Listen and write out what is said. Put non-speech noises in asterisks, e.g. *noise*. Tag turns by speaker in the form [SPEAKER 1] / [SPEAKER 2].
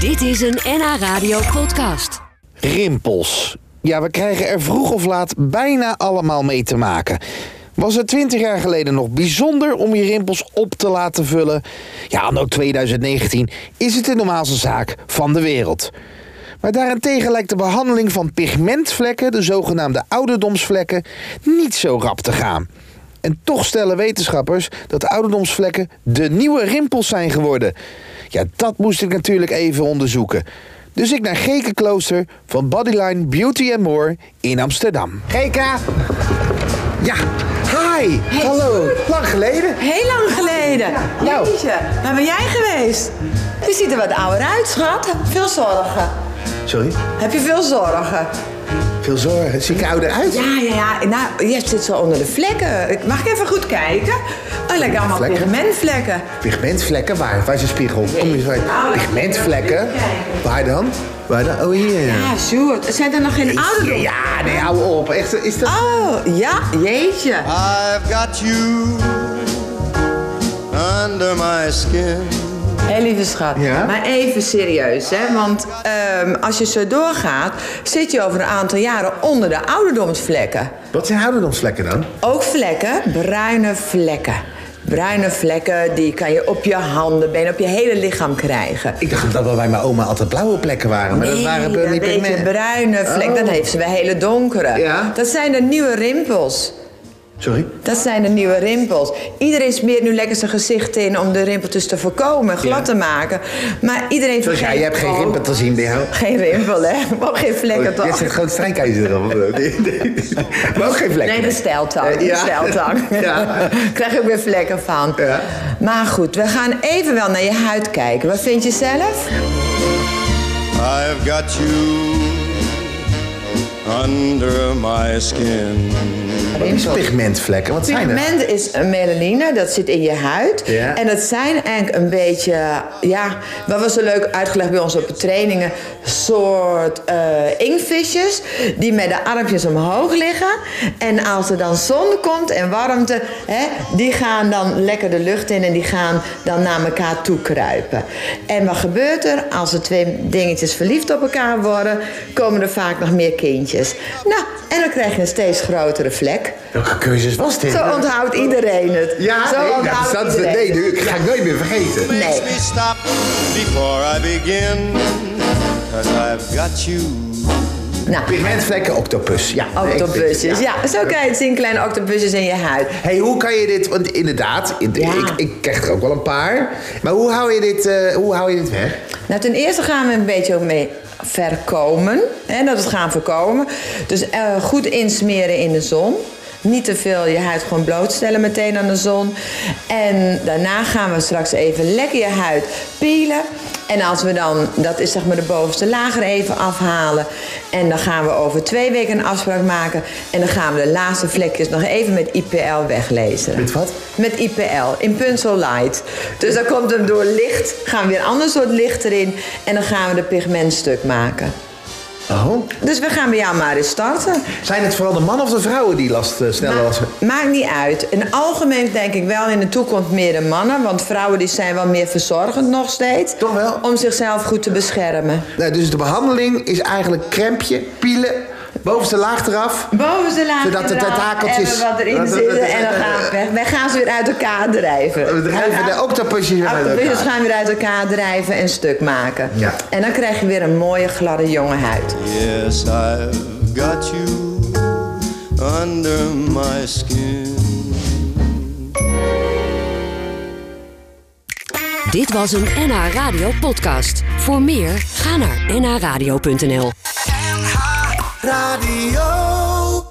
[SPEAKER 1] Dit is een NH Radio podcast.
[SPEAKER 2] Rimpels. Ja, we krijgen er vroeg of laat bijna allemaal mee te maken. Was het 20 jaar geleden nog bijzonder om je rimpels op te laten vullen? Ja, anno 2019 is het de normaalste zaak van de wereld. Maar daarentegen lijkt de behandeling van pigmentvlekken, de zogenaamde ouderdomsvlekken, niet zo rap te gaan. En toch stellen wetenschappers dat ouderdomsvlekken de nieuwe rimpels zijn geworden. Ja, dat moest ik natuurlijk even onderzoeken. Dus ik naar Geke Klooster van Bodyline Beauty and More in Amsterdam. Geka! Ja, hi! Hallo, lang geleden.
[SPEAKER 3] Heel lang geleden.
[SPEAKER 2] Nou.
[SPEAKER 3] Jeetje, waar ben jij geweest? Je ziet er wat ouder uit, schat. Heb je veel zorgen?
[SPEAKER 2] Sorry,
[SPEAKER 3] Heb je veel zorgen?
[SPEAKER 2] veel zorgen. Zie ik ouder uit?
[SPEAKER 3] Ja, ja, ja. Nou, je zit zo onder de vlekken. Ik- Mag ik even goed kijken? Oh, lekker allemaal
[SPEAKER 2] Vlekken?
[SPEAKER 3] pigmentvlekken.
[SPEAKER 2] Pigmentvlekken, waar? Waar is een spiegel? Kom eens bij.
[SPEAKER 3] Nou,
[SPEAKER 2] Pigmentvlekken? Waar dan? Waar dan? Oh, hier.
[SPEAKER 3] Ja, Sjoerd. Zijn er nog geen
[SPEAKER 2] Ja,
[SPEAKER 3] ouderdom?
[SPEAKER 2] ja, nee, hou op. Echt, is dat...
[SPEAKER 3] Oh, ja. Jeetje.
[SPEAKER 4] I've got you under my skin.
[SPEAKER 3] Hé, lieve schat.
[SPEAKER 2] Ja?
[SPEAKER 3] Maar even serieus, hè. Want ehm, als je zo doorgaat, zit je over een aantal jaren onder de ouderdomsvlekken.
[SPEAKER 2] Wat zijn ouderdomsvlekken dan?
[SPEAKER 3] Ook vlekken, bruine vlekken. Bruine vlekken, die kan je op je handen, benen, op je hele lichaam krijgen.
[SPEAKER 2] Ik dacht dat wel bij mijn oma altijd blauwe plekken waren, maar dat
[SPEAKER 3] Nee,
[SPEAKER 2] waren
[SPEAKER 3] dat
[SPEAKER 2] niet
[SPEAKER 3] beetje
[SPEAKER 2] pigmenten.
[SPEAKER 3] bruine vlek,
[SPEAKER 2] Oh.
[SPEAKER 3] dat heeft ze bij hele donkere.
[SPEAKER 2] Ja.
[SPEAKER 3] Dat zijn de nieuwe rimpels.
[SPEAKER 2] Sorry?
[SPEAKER 3] Dat zijn de nieuwe rimpels. Iedereen smeert nu lekker zijn gezicht in om de rimpeltjes te voorkomen, glad te maken. Maar iedereen
[SPEAKER 2] Dus ja, je hebt geen
[SPEAKER 3] gewoon-
[SPEAKER 2] rimpen te zien Oh, bij jou.
[SPEAKER 3] Geen rimpel, hè? Maar ook geen vlekken,
[SPEAKER 2] Je
[SPEAKER 3] toch?
[SPEAKER 2] zit gewoon strijkijzer eh, erop. Nee,
[SPEAKER 3] *laughs*
[SPEAKER 2] nee. Maar ook geen vlekken.
[SPEAKER 3] Nee, de steltang.
[SPEAKER 2] Eh, ja.
[SPEAKER 3] De steltang.
[SPEAKER 2] *laughs* Ja.
[SPEAKER 3] *laughs* Krijg je ook weer vlekken van.
[SPEAKER 2] Ja.
[SPEAKER 3] Maar goed, we gaan even wel naar je huid kijken. Wat vind je zelf?
[SPEAKER 4] I've got you under my skin.
[SPEAKER 2] Wat is pigmentvlekken? Wat zijn dat?
[SPEAKER 3] Pigment is een melanine, dat zit in je huid.
[SPEAKER 2] Ja.
[SPEAKER 3] En dat zijn eigenlijk een beetje, ja, wat was zo leuk uitgelegd bij ons op de trainingen, soort eh inktvisjes die met de armpjes omhoog liggen. En als er dan zon komt en warmte, hè, die gaan dan lekker de lucht in en die gaan dan naar elkaar toe kruipen. En wat gebeurt er? Als er twee dingetjes verliefd op elkaar worden, komen er vaak nog meer kindjes. Nou, en dan krijg je een steeds grotere vlek.
[SPEAKER 2] Welke cursus was dit?
[SPEAKER 3] Zo onthoudt iedereen het.
[SPEAKER 2] Ja,
[SPEAKER 3] Zo
[SPEAKER 2] nee, dat,
[SPEAKER 3] onthoudt
[SPEAKER 2] dat,
[SPEAKER 3] iedereen
[SPEAKER 2] nee,
[SPEAKER 3] het.
[SPEAKER 2] nu ga ik nooit meer vergeten.
[SPEAKER 4] Makes
[SPEAKER 3] Nee.
[SPEAKER 4] me stop before I begin. Cause I've got you.
[SPEAKER 3] Nou,
[SPEAKER 2] Pigmentvlekken, octopus. Ja,
[SPEAKER 3] octopusjes. Ja, zo kan je het zien, kleine octopusjes in je huid.
[SPEAKER 2] hey, hoe kan je dit... Want inderdaad, in-
[SPEAKER 3] Ja.
[SPEAKER 2] ik, ik krijg er ook wel een paar. Maar hoe hou je dit, eh, hoe hou je dit weg?
[SPEAKER 3] Nou, ten eerste gaan we een beetje ook mee verkomen. Hè, dat het gaan voorkomen. Dus eh, goed insmeren in de zon. Niet te veel je huid gewoon blootstellen meteen aan de zon. En daarna gaan we straks even lekker je huid peelen. En als we dan, dat is zeg maar de bovenste laag er even afhalen. En dan gaan we over twee weken een afspraak maken. En dan gaan we de laatste vlekjes nog even met IPL weglezen.
[SPEAKER 2] Met wat?
[SPEAKER 3] Met IPL, in Pencil Light. Dus dan komt hem door licht, gaan we weer een ander soort licht erin. En dan gaan we de pigment stuk maken.
[SPEAKER 2] Oh.
[SPEAKER 3] Dus we gaan bij jou maar eens starten.
[SPEAKER 2] Zijn het vooral de mannen of de vrouwen die last, eh, sneller last...
[SPEAKER 3] Maakt niet uit. In het algemeen denk ik wel in de toekomst meer de mannen. Want vrouwen die zijn wel meer verzorgend nog steeds.
[SPEAKER 2] Toch wel?
[SPEAKER 3] Om zichzelf goed te beschermen.
[SPEAKER 2] Nou, dus de behandeling is eigenlijk krempje, pielen, bovenste laag eraf.
[SPEAKER 3] Boven ze laag
[SPEAKER 2] Zodat de
[SPEAKER 3] eraf,
[SPEAKER 2] tentakeltjes-
[SPEAKER 3] En wat erin zitten en
[SPEAKER 2] *laughs*
[SPEAKER 3] dan gaan we weg. Wij gaan ze weer uit elkaar drijven.
[SPEAKER 2] We drijven de octopusjes weer uit
[SPEAKER 3] Octopusjes
[SPEAKER 2] elkaar.
[SPEAKER 3] gaan weer uit elkaar drijven en stuk maken.
[SPEAKER 2] Ja.
[SPEAKER 3] En dan krijg je weer een mooie gladde jonge huid.
[SPEAKER 4] Yes, I've got you under my skin.
[SPEAKER 1] Dit was een NH Radio podcast. Voor meer, ga naar nhradio.nl.
[SPEAKER 4] Radio.